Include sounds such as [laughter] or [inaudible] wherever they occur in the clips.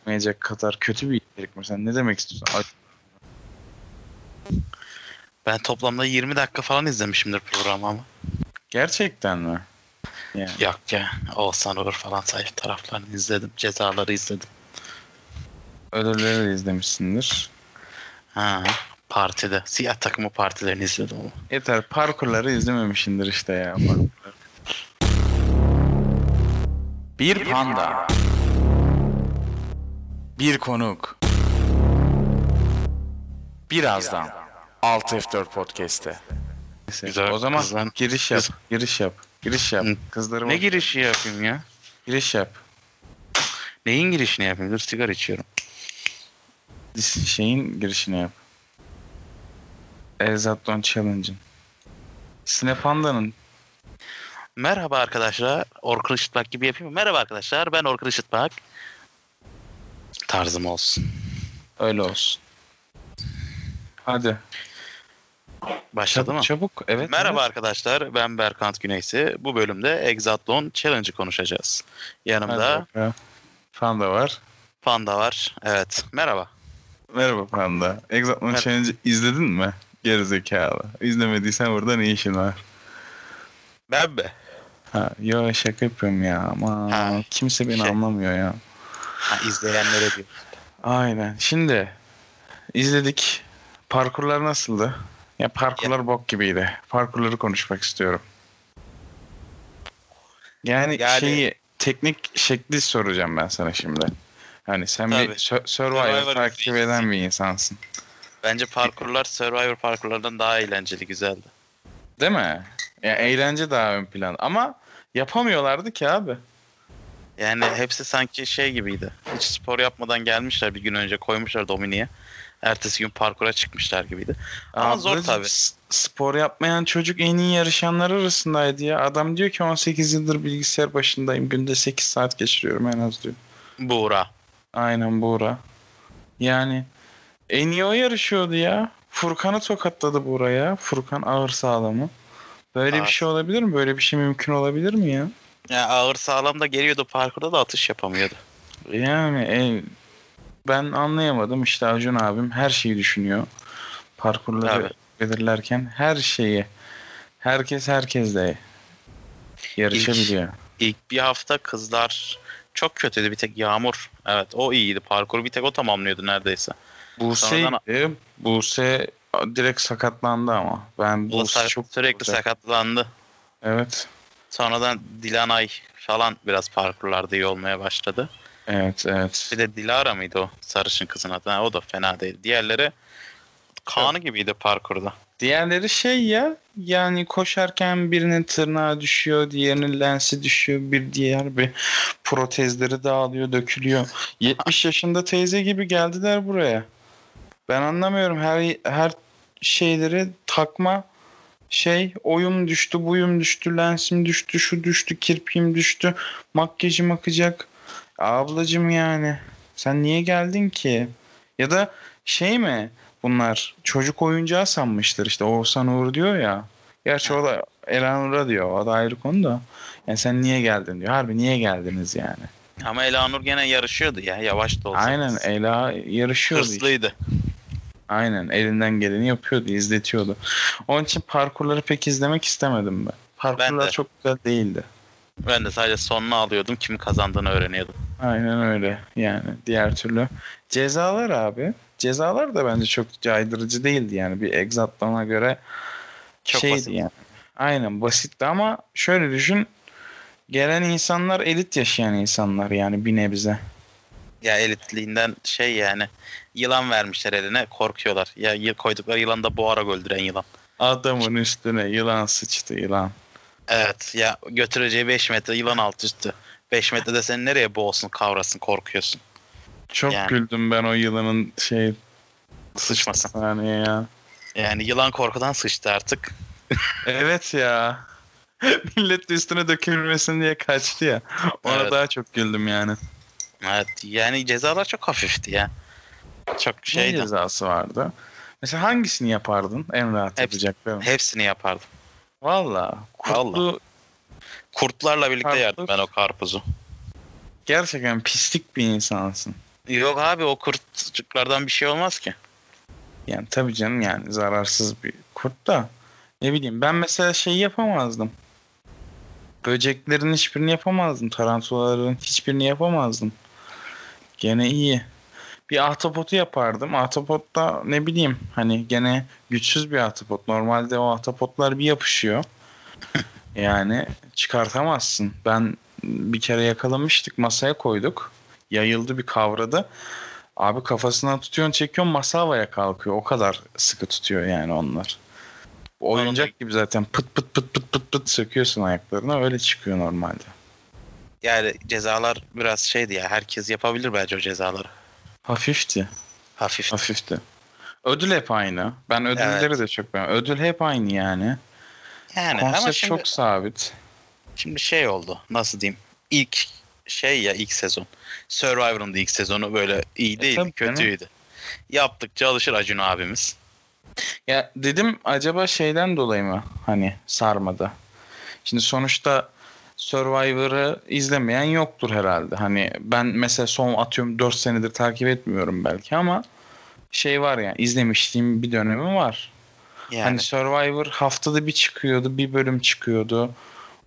etmeyecek kadar kötü bir içerik mi? Sen ne demek istiyorsun? Ay, Ben toplamda 20 dakika falan izlemişimdir programı ama. gerçekten mi? Yok ya. Oğuzhan Uğur falan sayf taraflarını izledim. Cezaları izledim. Ödülleri de izlemişsindir. Ha. Partide. Siyah takımı partilerini izledim ama. Yeter parkurları izlememişsindir işte ya. Bir panda. Bir konuk. Birazdan 6F4 Podcast'te. Neyse, Güzel, o zaman güzel. giriş yap. Güzel. Giriş yap. Giriş yap. Hı. Kızlarıma Ne girişi yapayım ya? giriş yap. Neyin girişini yapayım? Dur sigara içiyorum. Şeyin girişini yap. Erzat Don Challenge'ın. Sinepanda'nın Merhaba arkadaşlar. Orkun Işıtmak gibi yapayım mı? Merhaba arkadaşlar. Ben Orkun Işıtmak. Tarzım olsun. öyle olsun. Hadi. Başladı mı? Çabuk. Evet. Merhaba arkadaşlar. Ben Berkant Güneysi. Bu bölümde Exatlon Challenge'ı konuşacağız. Yanımda Hadi bakalım. Panda var. Panda var. Evet. Merhaba. Merhaba Panda. Exatman Merhaba. Challenge izledin mi? Gerizekalı. İzlemediysen burada ne işin var? Ben mi? Ha, yo şaka yapıyorum ya ama Ha, kimse beni şey. anlamıyor ya. Ha, izleyenlere diyor. Aynen. Şimdi izledik. Parkurlar nasıldı? Ya parkurlar bok gibiydi. Parkurları konuşmak istiyorum. Yani, Yani- şeyi teknik şekli soracağım ben sana şimdi. Hani sen bir Tabii. Sur- Survivor Survivor takip eden bir insansın. Bence parkurlar Survivor parkurlarından daha eğlenceli, güzeldi. Değil mi? Ya eğlence daha ön plan. Ama yapamıyorlardı ki abi. Yani hepsi sanki şey gibiydi. Hiç spor yapmadan gelmişler bir gün önce koymuşlar Domini'ye. Ertesi gün parkura çıkmışlar gibiydi. Ama Abi, zor tabii. s- Spor yapmayan çocuk en iyi yarışanlar arasındaydı ya. Adam diyor ki 18 yıldır bilgisayar başındayım. Günde 8 saat geçiriyorum en az diyor. Buğra. Aynen Buğra. Yani en iyi o yarışıyordu ya. Furkan'ı tokatladı Buğra ya. Furkan ağır sağlamı. Böyle Ağır. bir şey olabilir mi? Böyle bir şey mümkün olabilir mi ya? Ya ağır sağlam da geliyordu parkurda da atış yapamıyordu. Yani e, ben anlayamadım işte Acun abim her şeyi düşünüyor. Parkurları Tabii. belirlerken her şeyi herkes herkesle yarışabiliyor. İlk bir hafta kızlar çok kötüydü bir tek Yağmur. Evet o iyiydi parkuru bir tek o tamamlıyordu neredeyse. Buse Sonradan- Buse direkt sakatlandı ama ben O Buse sa- çok sürekli güzel. sakatlandı. Evet. Sonradan Dilanay falan biraz parkurlarda iyi olmaya başladı. Evet, evet. Bir de Dilara mıydı o sarışın kızın adı? Ha, o da fena değil. Diğerleri kanı gibiydi parkurda. Diğerleri şey ya yani koşarken birinin tırnağı düşüyor, diğerinin lensi düşüyor, bir diğer bir protezleri dağılıyor, dökülüyor. 70 yaşında teyze gibi geldiler buraya. Ben anlamıyorum her her şeyleri takma şey oyum düştü, buyum düştü, lensim düştü, şu düştü, kirpiğim düştü, makyajım akacak. Ablacım yani sen niye geldin ki? Ya da şey mi? bunlar çocuk oyuncağı sanmıştır işte Oğuzhan Uğur diyor ya. Gerçi o da Elanur'a diyor. O da ayrı konu da. Yani sen niye geldin diyor. Harbi niye geldiniz yani. Ama Elanur gene yarışıyordu ya yavaş da olsa. Aynen Ela yarışıyordu. işte. Hırslıydı. Aynen elinden geleni yapıyordu, izletiyordu. Onun için parkurları pek izlemek istemedim ben. Parkurlar de. çok güzel değildi. Ben de sadece sonunu alıyordum. Kim kazandığını öğreniyordum. Aynen öyle yani diğer türlü. Cezalar abi. Cezalar da bence çok caydırıcı değildi yani bir egzatlana göre Çok şeydi basit. yani. Aynen basitti ama şöyle düşün gelen insanlar elit yaşayan insanlar yani bir nebze. Ya elitliğinden şey yani yılan vermişler eline korkuyorlar. Ya yıl koydukları yılan da boğarak öldüren yılan. Adamın üstüne yılan sıçtı yılan. Evet ya götüreceği 5 metre yılan alt üstü. 5 metre de seni nereye boğsun kavrasın korkuyorsun. Çok Yani. güldüm ben o yılanın şey Sıçmasın. saniye ya. Yani yılan korkudan sıçtı artık. Evet ya. [laughs] Millet de üstüne dökülmesin diye kaçtı ya. Ona Evet. daha çok güldüm yani. Evet yani cezalar çok hafifti ya. Çok şey şeydi. cezası vardı. Mesela hangisini yapardın en rahat Hepsi. yapacaklarım? Hepsini yapardım. Valla. Kurtlu Kurtlarla birlikte Karpuz. yerdim ben o karpuzu. gerçekten pislik bir insansın. Yok abi o kurtçuklardan bir şey olmaz ki. Yani tabii canım yani zararsız bir kurt da. Ne bileyim ben mesela şeyi yapamazdım. Böceklerin hiçbirini yapamazdım. Tarantulaların hiçbirini yapamazdım. Gene iyi. Bir ahtapotu yapardım. Ahtapot da ne bileyim hani gene güçsüz bir ahtapot. Normalde o ahtapotlar bir yapışıyor. Yani çıkartamazsın. Ben bir kere yakalamıştık masaya koyduk. Yayıldı bir kavradı. Abi kafasından tutuyorsun çekiyorsun masa havaya kalkıyor. O kadar sıkı tutuyor yani onlar. Oyuncak gibi zaten pıt pıt pıt pıt pıt pıt söküyorsun ayaklarına öyle çıkıyor normalde. Yani cezalar biraz şeydi ya herkes yapabilir bence o cezaları. Hafifti. Hafif. Hafifti. Ödül hep aynı. Ben ödülleri de çok beğeniyorum. Ödül hep aynı yani. Yani ama Konsept şimdi, çok sabit. şimdi şey oldu nasıl diyeyim ilk şey ya ilk sezon. Survivor'ın da ilk sezonu böyle iyi değildi E, tabii canım. kötüydü. Yaptıkça alışır Acun abimiz. Ya dedim acaba şeyden dolayı mı hani sarmadı. Şimdi sonuçta Survivor'ı izlemeyen yoktur herhalde. Hani ben mesela son atıyorum 4 senedir takip etmiyorum belki ama şey var yani izlemişliğim bir dönemi var. Yani Hani Survivor haftada bir çıkıyordu, bir bölüm çıkıyordu.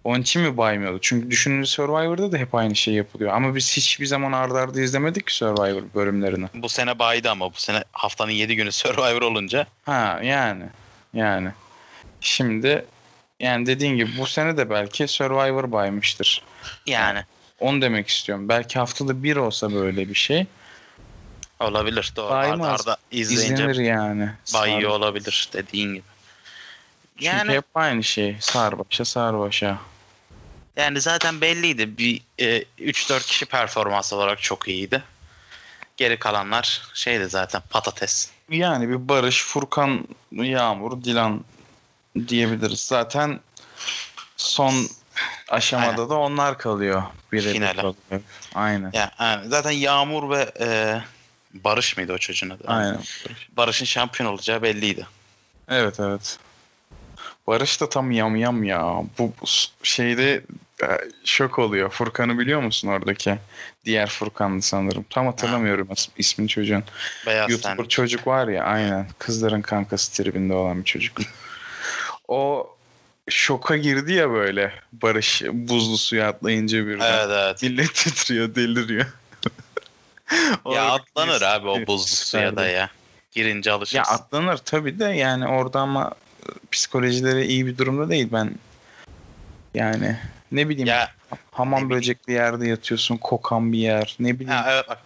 Onun için mi baymıyordu? Çünkü düşünün Survivor'da da hep aynı şey yapılıyor. Ama biz hiçbir zaman ardarda arda izlemedik ki Survivor bölümlerini. bu sene baydı ama bu sene haftanın 7 günü Survivor olunca Ha yani yani şimdi yani dediğin gibi bu sene de belki Survivor baymıştır. yani Onu demek istiyorum. Belki haftada bir olsa böyle bir şey olabilir doğru. Baymaz. Arda arda izleyince izlenir yani. Sar- bayıyor olabilir dediğin gibi. Çünkü Yani hep aynı şey. Sarbaşa sarbaşa. yani zaten belliydi. Bir e, 3-4 kişi performans olarak çok iyiydi. Geri kalanlar şeydi zaten patates. Yani bir Barış, Furkan, Yağmur, Dilan diyebiliriz. Zaten son aşamada Aynen. da onlar kalıyor. Biri Finale. Aynen. Ya yani zaten Yağmur ve e, Barış mıydı o çocuğun adı? Aynen. Barış'ın şampiyon olacağı belliydi. Evet evet. Barış da tam yam yam ya. Bu bu s- şeyde e, şok oluyor. Furkan'ı biliyor musun oradaki? Diğer Furkan'dı sanırım. Tam hatırlamıyorum is- ismini çocuğun. Beyaz YouTuber ten. çocuk var ya aynen. Kızların kankası tribinde olan bir çocuk. o şoka girdi ya böyle. Barış buzlu suya atlayınca birden. Evet evet. Millet titriyor, deliriyor. [laughs] Ya Orada atlanır bir- abi o buzlu suya da ya. Girince alışırsın. ya atlanır tabii de yani orada ama e, psikolojileri iyi bir durumda değil ben. Yani ne bileyim ya ne hamam bileyim. böcekli yerde yatıyorsun kokan bir yer ne bileyim. Ha, evet bak.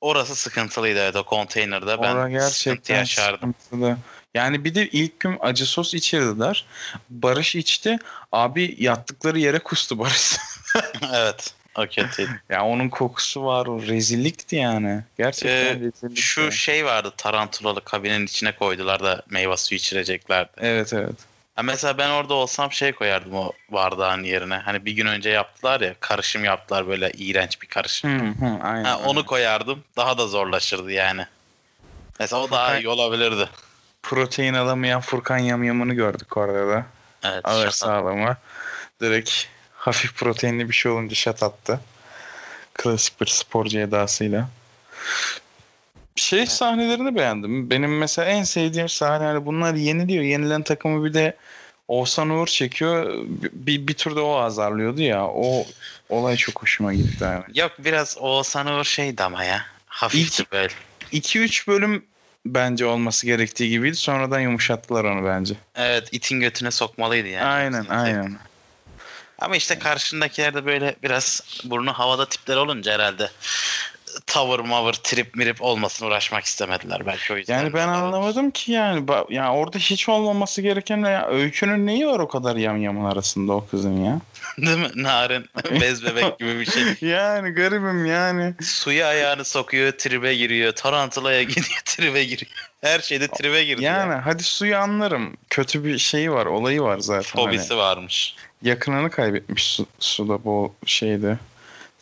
Orası sıkıntılıydı evet o konteynerde ben Orada sıkıntı gerçekten yaşardım. [laughs] sıkıntılı. Yani bir de ilk gün acı sos içirdiler. Barış içti. Abi yattıkları yere kustu Barış. [laughs] evet o kötüydü. ya onun kokusu var o rezillikti yani. Gerçekten Ee, rezillikti. Şu şey vardı tarantulalı kabinin içine koydular da meyve suyu içireceklerdi. Evet evet. Ha, mesela ben orada olsam şey koyardım o bardağın yerine. Hani bir gün önce yaptılar ya karışım yaptılar böyle iğrenç bir karışım. Hı hı, aynen. Ha, aynen. onu koyardım daha da zorlaşırdı yani. Mesela o daha iyi olabilirdi. protein alamayan Furkan Yamyam'ını gördük orada da. Evet. Ağır şaka. sağlama. Direkt hafif proteinli bir şey olunca şat attı. Klasik bir sporcu edasıyla. Şey sahnelerini beğendim. Benim mesela en sevdiğim sahne hani bunlar yeniliyor. Yenilen takımı bir de Oğuzhan Uğur çekiyor. Bir, bir turda o azarlıyordu ya. O olay çok hoşuma gitti. Yani. Yok biraz Oğuzhan Uğur şeydi ama ya. Hafifti böyle. 2-3 bölüm bence olması gerektiği gibiydi. Sonradan yumuşattılar onu bence. Evet itin götüne sokmalıydı yani. aynen aynen. Ama işte karşındakiler de böyle biraz burnu havada tipler olunca herhalde tavır mavır trip mirip olmasın uğraşmak istemediler belki o yüzden. Yani ben anlamadım ki yani. Ba- Ya orada hiç olmaması gereken ya öykünün neyi var o kadar yamyamın arasında o kızın ya? [laughs] Değil mi? Narin bez bebek gibi bir şey. [laughs] yani garibim yani. Suya ayağını sokuyor tribe giriyor. Tarantula'ya gidiyor [laughs] tribe giriyor. Her şeyde tribe girdi. Yani ya. hadi suyu anlarım. Kötü bir şeyi var, olayı var zaten. Hani Fobisi varmış. yakınını kaybetmiş su- suda bu şeyde.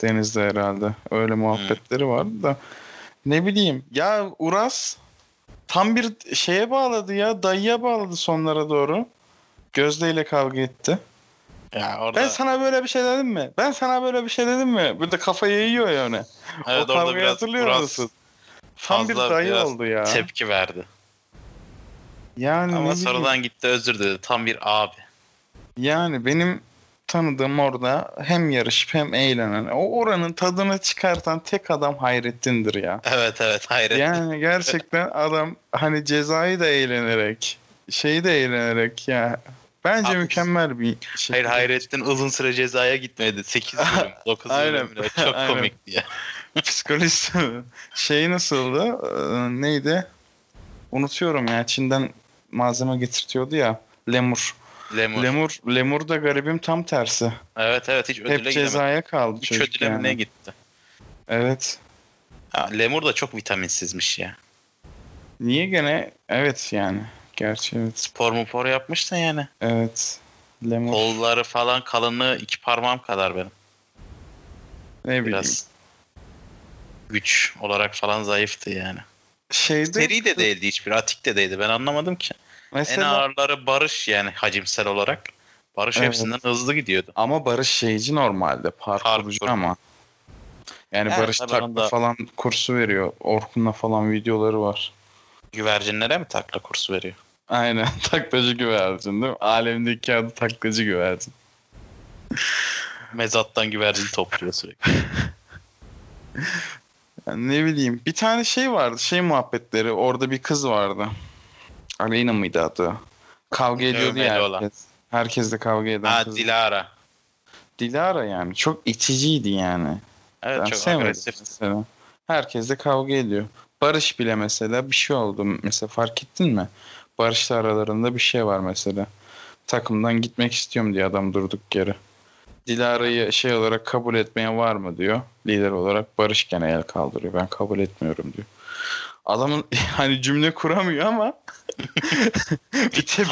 Denizde herhalde. Öyle muhabbetleri vardı da. Ne bileyim. Ya Uras tam bir şeye bağladı ya. Dayıya bağladı sonlara doğru. Gözde ile kavga etti. Ya orada, Ben sana böyle bir şey dedim mi? Ben sana böyle bir şey dedim mi? Burada kafayı yiyor yani. evet, o orada kavgayı biraz, hatırlıyor Murat musun? Tam bir fazla dayı biraz oldu ya. Tepki verdi. yani ne Ama bileyim. sonradan gitti özür dedi. Tam bir abi. Yani benim tanıdığım orada hem yarışıp hem eğlenen. O oranın tadını çıkartan tek adam Hayrettin'dir ya. Evet evet hayret. Yani gerçekten adam hani cezayı da eğlenerek, şeyi de eğlenerek ya. Bence Abi- mükemmel bir şey. Hayır Hayrettin uzun süre cezaya [laughs] gitmedi. 8 bölüm, 9 Aynen. bölüm. Çok Aynen. komikti ya. [laughs] Psikolojisi şey nasıldı? Ee, neydi? Unutuyorum ya. Çin'den malzeme getirtiyordu ya. Lemur. Lemur. Lemur Lemur da garibim tam tersi. Evet evet hiç ödüle Hep gidemedi. cezaya kaldı Üç çocuk ödüle mi ne yani. gitti? Evet. Ha, lemur da çok vitaminsizmiş ya. Niye gene? Evet yani. Gerçi evet. Spor mupor yapmış da yani. Evet. Lemur Kolları falan kalınlığı iki parmağım kadar benim. ne bileyim. Biraz güç olarak falan zayıftı yani. Şeyde Seri de değildi hiçbir. Atik de değildi. Ben anlamadım ki. En mesela ağırları Barış yani hacimsel olarak. Barış Evet. hepsinden hızlı gidiyordu. ama Barış şeyci normalde parkurcu Parkur. ama. Yani Evet, Barış tabii takla onda- falan kursu veriyor. Orkun'la falan videoları var. Güvercinlere mi takla kursu veriyor? Aynen. [laughs] Taklacı güvercin değil mi? Alemdeki adı taklacı güvercin. Mezattan güvercin topluyor sürekli. Yani ne bileyim. Bir tane şey vardı. Şey muhabbetleri. Orada bir kız vardı. Aleyna mıydı adı? Kavga ediyordu Dövmeli ya olan. herkes. Herkesle kavga eden ha kız. Dilara. Dilara yani. Çok iticiydi yani. Evet Ben çok sevmedim agresif. mesela. Herkes de kavga ediyor. Barış bile mesela bir şey oldu. Mesela fark ettin mi? Barış'la aralarında bir şey var mesela. Takımdan gitmek istiyorum diye adam durduk yere. Dilara'yı şey olarak kabul etmeye var mı diyor. Lider olarak Barış gene el kaldırıyor. Ben kabul etmiyorum diyor. Adamın [laughs] hani cümle kuramıyor [laughs] ama [laughs] bir Ta- tepki.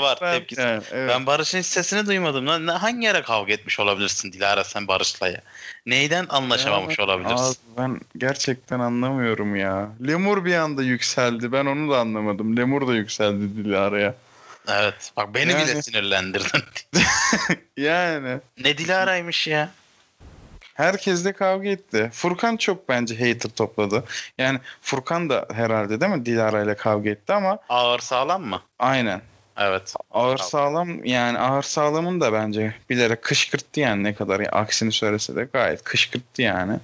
[laughs] var tepkisi. Yani, evet. Ben Barış'ın hiç sesini duymadım. Lan ne- hangi ara kavga etmiş olabilirsin Dilara sen Barış'la ya? Neyden anlaşamamış Abi olabilirsin? ben gerçekten anlamıyorum ya. Lemur bir anda yükseldi. Ben onu da anlamadım. Lemur da yükseldi Dilara'ya. Evet. Bak beni bile Yani- sinirlendirdin. [laughs] Yani ne Dilara'ymış ya? herkesle kavga etti. Furkan çok bence hater topladı. Yani Furkan da herhalde değil mi Dilara ile kavga etti ama Ağır sağlam mı? aynen. Evet. Ağır Tamam. sağlam yani ağır sağlamın da bence bilerek kışkırttı yani ne kadar ya, aksini söylese de gayet kışkırttı yani.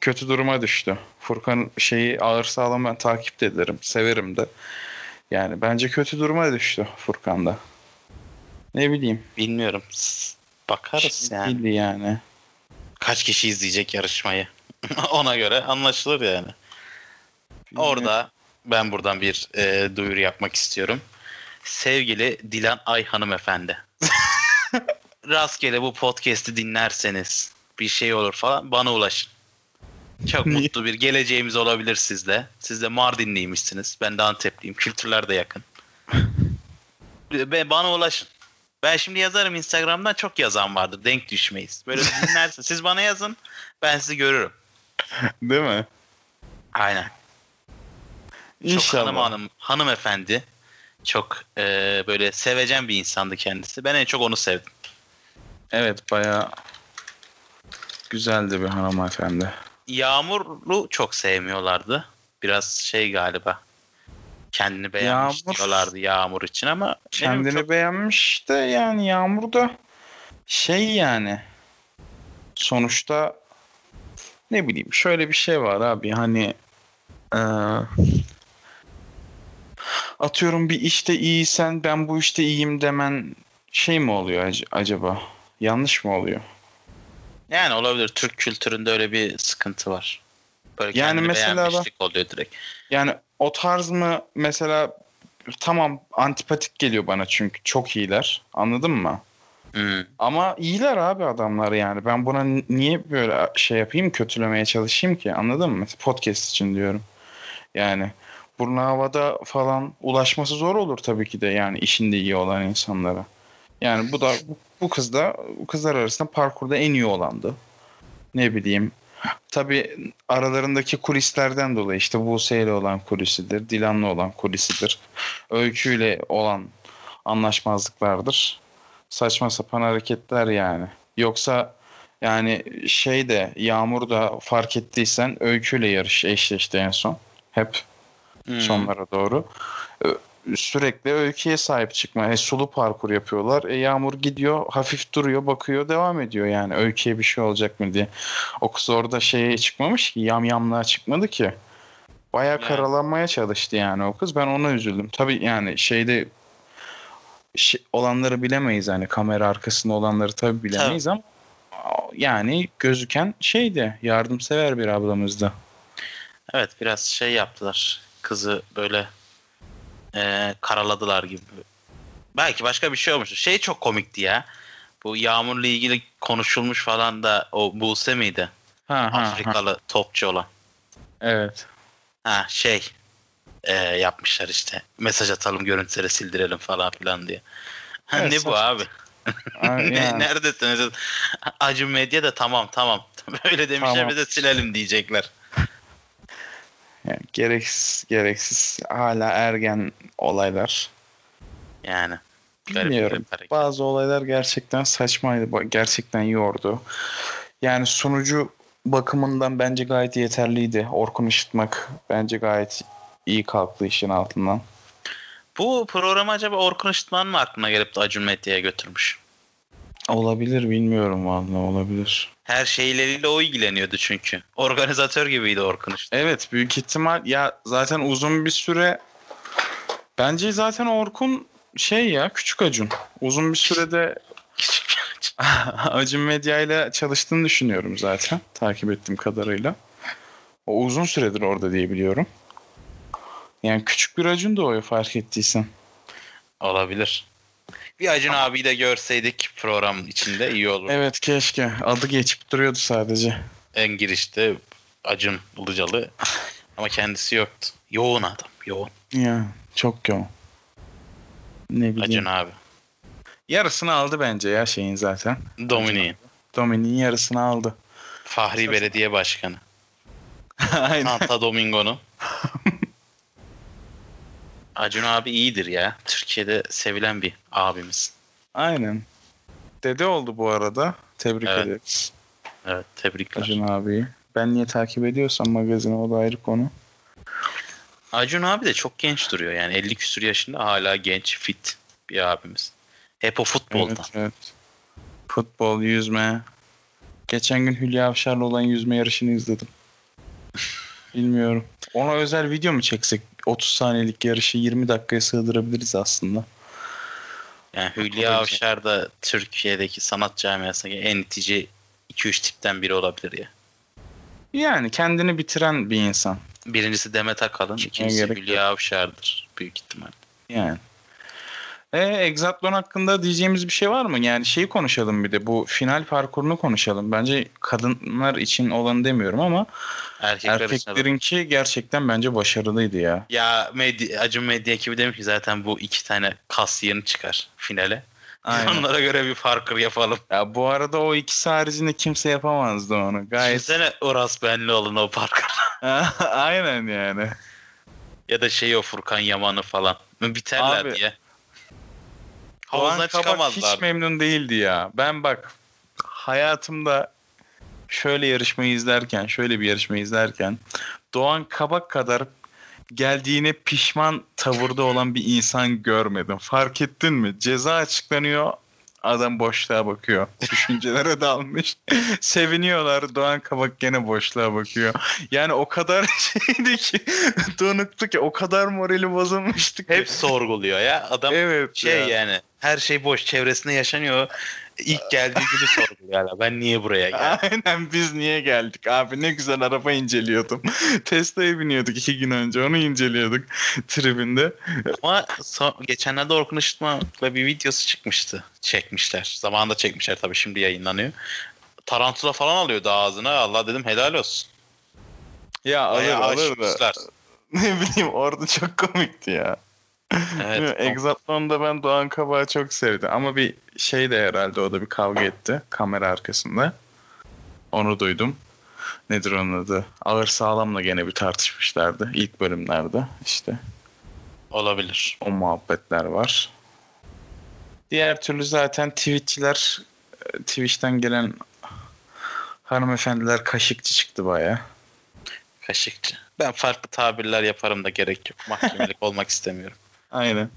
Kötü duruma düştü. Furkan şeyi ağır sağlam ben takip de ederim. Severim de. Yani bence kötü duruma düştü Furkan'da. Ne bileyim. Bilmiyorum. S- Bakarız yani. Bildi yani. Kaç kişi izleyecek yarışmayı? [laughs] Ona göre anlaşılır yani. Orada ben buradan bir e, duyuru yapmak istiyorum. Sevgili Dilan Ay hanımefendi. [laughs] Rastgele bu podcast'i dinlerseniz bir şey olur falan bana ulaşın. Çok Niye? mutlu bir geleceğimiz olabilir sizle. Siz de Mardinliymişsiniz. Ben de Antepliyim. Kültürler de yakın. Be- bana ulaşın. Ben şimdi yazarım Instagram'dan çok yazan vardır. Denk düşmeyiz. Böyle dinlersin. Siz bana yazın. Ben sizi görürüm. Değil mi? Aynen. Çok hanım İnşallah. hanım, hanımefendi. Çok e, böyle sevecen bir insandı kendisi. Ben en çok onu sevdim. Evet bayağı güzeldi bir hanımefendi. Yağmur'u çok sevmiyorlardı. Biraz şey galiba. Kendini beğenmiş Yağmur- diyorlardı Yağmur için ama benim Kendini çok beğenmiş de yani Yağmur da şey yani sonuçta ne bileyim şöyle bir şey var abi hani eee, atıyorum bir işte iyiysen ben bu işte iyiyim demen şey mi oluyor ac- acaba? Yanlış mı oluyor? yani olabilir Türk kültüründe öyle bir sıkıntı var. Böyle Yani yani mesela mesela bak- beğenmişlik oluyor direkt. Yani o tarz mı mesela tamam antipatik geliyor bana çünkü çok iyiler. Anladın mı? Hmm. Ama iyiler abi adamlar yani. Ben buna n- niye böyle şey yapayım, kötülemeye çalışayım ki? Anladın mı? Podcast için diyorum. Yani burnu havada falan ulaşması zor olur tabii ki de yani işinde iyi olan insanlara. Yani bu da bu- bu kız da bu kızlar arasında parkurda en iyi olandı. Ne bileyim. Tabii aralarındaki kulislerden dolayı işte Buse ile olan kulisidir, Dilan'la olan kulisidir. Öyküyle olan anlaşmazlıklardır. saçma sapan hareketler yani. Yoksa yani şey de Yağmur da fark ettiysen öyküyle yarış eşleşti en son. Hep Hmm. sonlara doğru. Ö- Sürekli öyküye sahip çıkma. E, sulu parkur yapıyorlar. E, yağmur gidiyor, hafif duruyor, bakıyor, devam ediyor yani. Öyküye bir şey olacak mı diye. O kız orada şeye çıkmamış ki, yamyamlığa çıkmadı ki. Bayağı Yani. karalanmaya çalıştı yani o kız. Ben ona üzüldüm. Tabii yani şeyde şey- olanları bilemeyiz yani kamera arkasında olanları tabii bilemeyiz ama yani gözüken şeydi yardımsever bir ablamızdı. Evet biraz şey yaptılar. Kızı böyle eee, karaladılar gibi. Belki başka bir şey olmuştu. Şey çok komikti ya. Bu Yağmur'la ilgili konuşulmuş falan da o Buse miydi? Ha ha, ha Afrikalı topçu olan. evet. Ha şey eee, yapmışlar işte. Mesaj atalım görüntüleri sildirelim falan filan diye. Ha, Evet, ne bu saçma. abi? Ha, [laughs] ne, yani. neredesiniz? Acı medya da tamam tamam. [laughs] Böyle demişler Tamam. bize silelim diyecekler. Yani gereksiz gereksiz hala ergen olaylar. Yani. Garip, Bilmiyorum. garip hareket. Bazı olaylar gerçekten saçmaydı. ba- Gerçekten yordu. Yani sunucu bakımından bence gayet yeterliydi. Orkun Işıtmak bence gayet iyi kalktı işin altından. Bu programı acaba Orkun Işıtman mı aklına gelip de Acun Medya'ya götürmüş? Olabilir bilmiyorum vallahi olabilir. Her şeyleriyle o ilgileniyordu çünkü. Organizatör gibiydi Orkun Işıtman. Evet büyük ihtimal ya zaten uzun bir süre bence zaten Orkun şey ya küçük Acun. Uzun bir sürede [laughs] Acun Medya ile çalıştığını düşünüyorum zaten. Takip ettiğim kadarıyla. O uzun süredir orada diye biliyorum. Yani küçük bir Acun da o ya, fark ettiysen. Olabilir. Bir Acun abiyi de görseydik programın içinde iyi olur. Evet keşke. Adı geçip duruyordu sadece. En girişte Acun Ilıcalı ama kendisi yoktu. Yoğun adam, yoğun. Ya çok yoğun. Ne bileyim. Acun abi. Yarısını aldı bence ya şeyin zaten. Dominik'in. Dominik'in yarısını aldı. Fahri Belediye Başkanı. Aynen. Santa [laughs] Domingo'nun. Acun abi iyidir ya. Türkiye'de sevilen bir abimiz. Aynen. Dede oldu bu arada. Tebrik Evet. ederiz Evet tebrikler. Acun. Acun abiyi. Ben niye takip ediyorsam magazini o da ayrı konu. abi de çok genç duruyor yani 50 küsur yaşında hala genç fit bir abimiz. Hep o futboldan. Evet, evet. Futbol, yüzme. Geçen gün Hülya Avşar'la olan yüzme yarışını izledim. Bilmiyorum. Ona özel video mu çeksek? 30 saniyelik yarışı 20 dakikaya sığdırabiliriz aslında. Yani O da Hülya güzel. Avşar da Türkiye'deki sanat camiasındaki en itici 2-3 tipten biri olabilir ya. Yani kendini bitiren bir insan. Birincisi Demet Akalın, ikincisi gerek Hülya Avşar'dır büyük ihtimal. Yani. E, Exatlon hakkında diyeceğimiz bir şey var mı? Yani şeyi konuşalım bir de bu final parkurunu konuşalım. Bence kadınlar için olanı demiyorum ama Erkekler arasında da- erkeklerinki gerçekten bence başarılıydı ya. Ya medya, Acun Medya ekibi demiş ki zaten bu iki tane kas yeni çıkar finale. Biz Aynen. Onlara göre bir parkur yapalım. Ya bu arada o ikisi haricinde kimse yapamazdı onu. [laughs] Gayet. [laughs] Düşünsene Uras Benlioğlu'nun o parkur. Aynen yani. ya da şey o Furkan Yaman'ı falan. Biterler Abi, diye. Doğan Havuzdan Kabak hiç çıkamazlar. memnun değildi ya. Ben bak hayatımda şöyle yarışmayı izlerken, şöyle bir yarışmayı izlerken Doğan Kabak kadar geldiğine pişman tavırda olan bir insan görmedim. Fark ettin mi? Ceza açıklanıyor. Adam boşluğa [laughs] bakıyor. Düşüncelere dalmış. Seviniyorlar. Doğan Kabak gene boşluğa bakıyor. Yani o kadar [laughs] şeydi ki donuktu ki o kadar morali bozulmuştu ki. Hep sorguluyor ya. Adam evet şey ya. yani her şey boş çevresinde yaşanıyor. İlk geldiği günü sorguluyor hala. Ben niye buraya geldim? [laughs] Aynen biz niye geldik abi ne güzel araba inceliyordum. [laughs] Tesla'ya biniyorduk iki gün önce onu inceliyorduk tribinde. Ama son- geçenlerde Orkun Işıtma'la bir videosu çıkmıştı. Çekmişler. Zamanında çekmişler tabii şimdi yayınlanıyor. Tarantula falan alıyordu ağzına. Allah dedim helal olsun. Ya alır Bayağı alır da aşmışlar. [laughs] ne bileyim orada çok komikti ya. Evet. Bilmiyorum, Exatlon'da ben Doğan Kabak'ı çok sevdim ama bir şey de herhalde o da bir kavga etti kamera arkasında. Onu duydum. Nedir onun adı? Ağır sağlamla gene bir tartışmışlardı ilk bölümlerde işte. Olabilir. O muhabbetler var. Diğer türlü zaten Twitch'çiler e, Twitch'ten gelen hanımefendiler kaşıkçı çıktı baya. Kaşıkçı. Ben farklı tabirler yaparım da gerek yok. Mahkemelik [laughs] olmak istemiyorum. Aynen.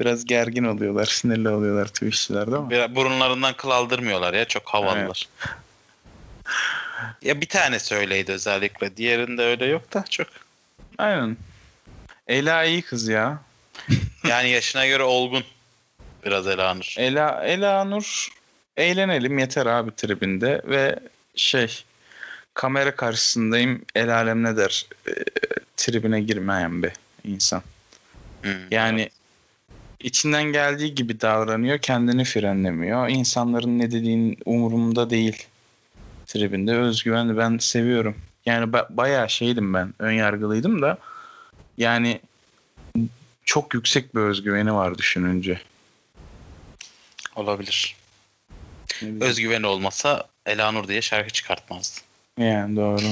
Biraz gergin oluyorlar, sinirli oluyorlar Twitch'çiler değil mi? Bir- burunlarından kıl aldırmıyorlar ya. Çok havalılar. ya bir tanesi öyleydi özellikle. Diğerinde öyle yok da [laughs] çok. Aynen. Ela iyi kız ya. Yani yaşına göre olgun. Biraz elanır. Ela, Ela Nur eğlenelim yeter abi tribinde ve şey kamera karşısındayım el alem ne der e, tribine girmeyen bir insan. Hmm. Yani içinden geldiği gibi davranıyor, kendini frenlemiyor. İnsanların ne dediğin umurumda değil. Tribinde özgüvenli ben seviyorum. Yani ba- bayağı şeydim ben, ön yargılıydım da yani çok yüksek bir özgüveni var düşününce. Olabilir. Ne bileyim. Özgüveni olmasa Elanur diye şarkı çıkartmazdı. Yani doğru.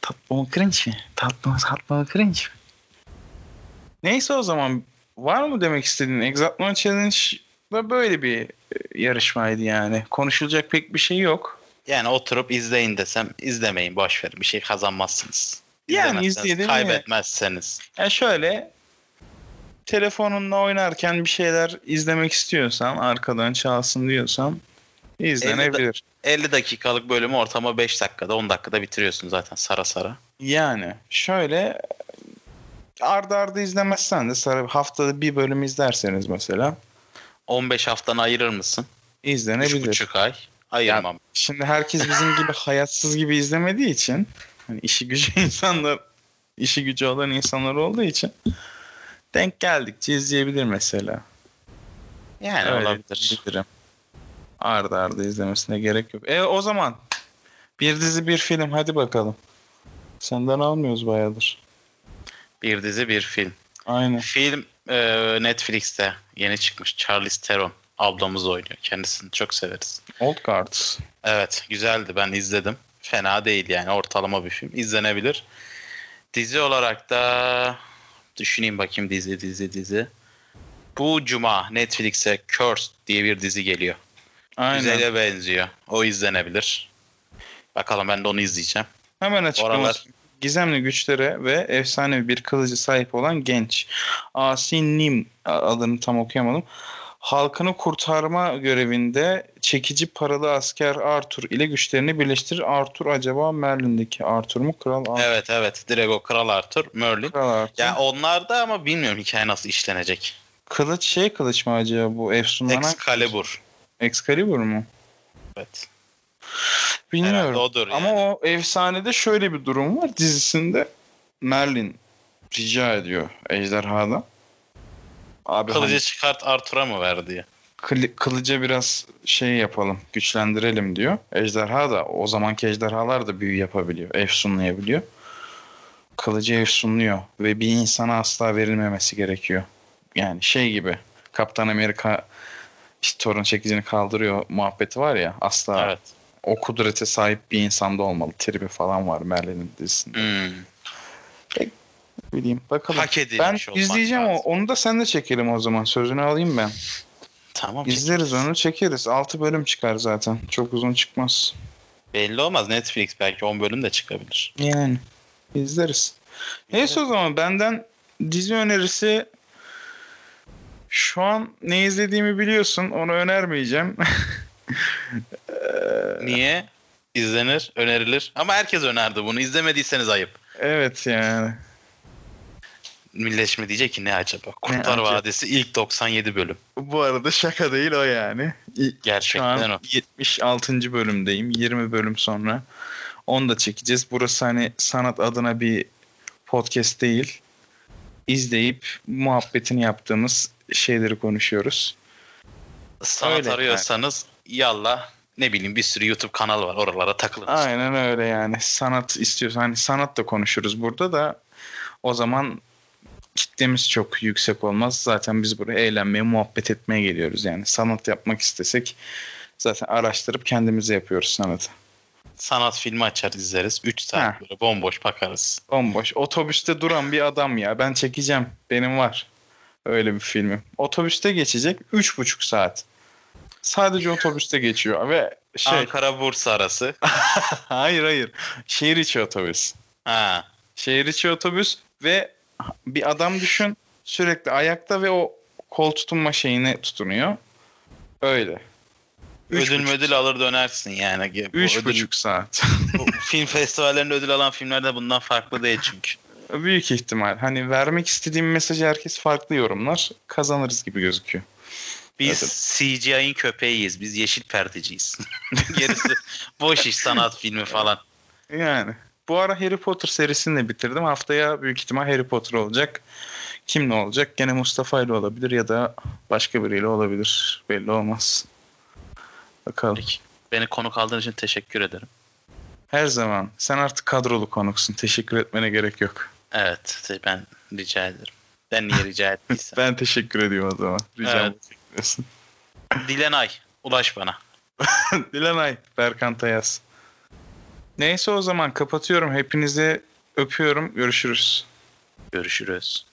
Tatlı mı cringe mi? Tatlı mı tatlı mı cringe mi? Neyse o zaman var mı demek istediğin? Exatman Challenge'da böyle bir e, yarışmaydı yani. Konuşulacak pek bir şey yok. Yani oturup izleyin desem izlemeyin boş verin bir şey kazanmazsınız. Yani İzlemezseniz, izleyelim mi? Kaybetmezseniz. Ya şöyle telefonunla oynarken bir şeyler izlemek istiyorsan arkadan çalsın diyorsan izlenebilir. 50 dakikalık bölümü ortama 5 dakikada 10 dakikada bitiriyorsun zaten sara sara. Yani şöyle ardı ardı izlemezsen de sarı haftada bir bölüm izlerseniz mesela 15 haftanı ayırır mısın? izlenebilir. 3,5 ay. Ayırmam. Şimdi herkes bizim gibi hayatsız gibi izlemediği için hani işi gücü [laughs] insanlar işi gücü olan insanlar olduğu için denk geldikçe izleyebilir mesela. yani Öyle olabilir. diyebilirim. Arda arda izlemesine gerek yok. E o zaman bir dizi bir film hadi bakalım. Senden almıyoruz bayağıdır. Bir dizi bir film. Aynen. Film e, Netflix'te yeni çıkmış. Charlize Theron ablamız oynuyor. Kendisini çok severiz. Old Cards. Evet güzeldi ben izledim. Fena değil yani ortalama bir film. İzlenebilir. Dizi olarak da düşüneyim bakayım dizi dizi dizi. Bu cuma Netflix'e Cursed diye bir dizi geliyor. Aynen. Güzele benziyor. O izlenebilir. Bakalım ben de onu izleyeceğim. Hemen açıklaması. Oralar- Gizemli güçlere ve efsanevi bir kılıcı sahip olan genç. Asi Nim adını tam okuyamadım. Halkını kurtarma görevinde çekici paralı asker Arthur ile güçlerini birleştirir. Arthur acaba Merlin'deki Arthur mu? Kral Arthur. Evet evet. Direkt o Kral Arthur, Merlin. Kral Arthur. Ya onlar da ama bilmiyorum hikaye nasıl işlenecek. Kılıç şey kılıç mı acaba bu? Efsunlanan Excalibur. Excalibur mu? Evet. Herhalde Bilmiyorum. odur Ama yani. o efsanede şöyle bir durum var. Dizisinde Merlin rica ediyor ejderhadan. Abi hani- Kılıcı çıkart Arthur'a mı ver diye. Kılı- kılıca biraz şey yapalım, güçlendirelim diyor. Ejderha da o zamanki ejderhalar da büyü yapabiliyor, efsunlayabiliyor. Kılıcı efsunluyor ve bir insana asla verilmemesi gerekiyor. Yani şey gibi Kaptan Amerika işte torun çekicini kaldırıyor muhabbeti var ya asla Evet. o kudrete sahip bir insanda olmalı. Tribi falan var Merlin'in dizisinde. Hmm. Bileyim bakalım. Hak ben edilmiş olmak izleyeceğim o. lazım. Onu da sen de çekelim o zaman. Sözünü alayım ben. Tamam. İzleriz onu çekeriz. 6 bölüm çıkar zaten. Çok uzun çıkmaz. Belli olmaz. Netflix belki 10 bölüm de çıkabilir. Yani izleriz. Neyse o zaman benden dizi önerisi şu an ne izlediğimi biliyorsun. Onu önermeyeceğim. [laughs] Ee. Niye? İzlenir, önerilir. Ama herkes önerdi bunu. İzlemediyseniz ayıp. evet yani. Millet şimdi diyecek ki ne acaba? Kurtlar acaba? Vadisi ilk 97 bölüm. Bu arada şaka değil o yani. İ- Şu Gerçekten o. an 76. bölümdeyim. 20 bölüm sonra. Onu da çekeceğiz. Burası hani sanat adına bir podcast değil. İzleyip muhabbetini yaptığımız şeyleri konuşuyoruz. Sanat Öyle yani. arıyorsanız yallah ne bileyim bir sürü YouTube kanalı var. Oralara takılın. işte. Aynen öyle yani. Sanat istiyorsan hani sanat da konuşuruz burada da o zaman kitlemiz çok yüksek olmaz. Zaten biz buraya eğlenmeye, muhabbet etmeye geliyoruz yani. Sanat yapmak istesek zaten araştırıp kendimize yapıyoruz sanatı. Sanat filmi açar izleriz. 3 Ha. saat böyle bomboş bakarız. Bomboş. Otobüste duran bir adam ya. Ben çekeceğim. Benim var. Öyle bir filmi. Otobüste geçecek 3,5 saat. Sadece otobüste geçiyor ve şey Ankara Bursa arası. [laughs] hayır hayır. Şehir içi otobüs. Ha. Şehir içi otobüs ve bir adam düşün sürekli ayakta ve o kol tutunma şeyine tutunuyor. Öyle. Üç ödül buçuk- ödül alır dönersin yani. Bu Üç ödül- buçuk saat. [laughs] bu film festivallerinde ödül alan filmler de bundan farklı değil çünkü. Büyük ihtimal. Hani vermek istediğim mesajı herkes farklı yorumlar. Kazanırız gibi gözüküyor. Biz CGI'in köpeğiyiz. Biz yeşil [laughs] perteciyiz. [laughs] Gerisi boş iş sanat filmi falan. Yani. Bu ara Harry Potter serisini de bitirdim. Haftaya büyük ihtimal Harry Potter olacak. Kim ne olacak? Gene Mustafa ile olabilir ya da başka biriyle olabilir. Belli olmaz. Bakalım. Peki. Beni konuk aldığın için teşekkür ederim. Her zaman. Sen artık kadrolu konuksun. Teşekkür etmene gerek yok. Evet te- ben rica ederim. Ben niye [laughs] rica ettiysem. Ben teşekkür ediyorum o zaman. Rica Evet. [laughs] ediyorsun. Dilenay ulaş bana. Dilanay, Berkan Tayaz. Neyse o zaman kapatıyorum. Hepinizi öpüyorum. Görüşürüz. Görüşürüz.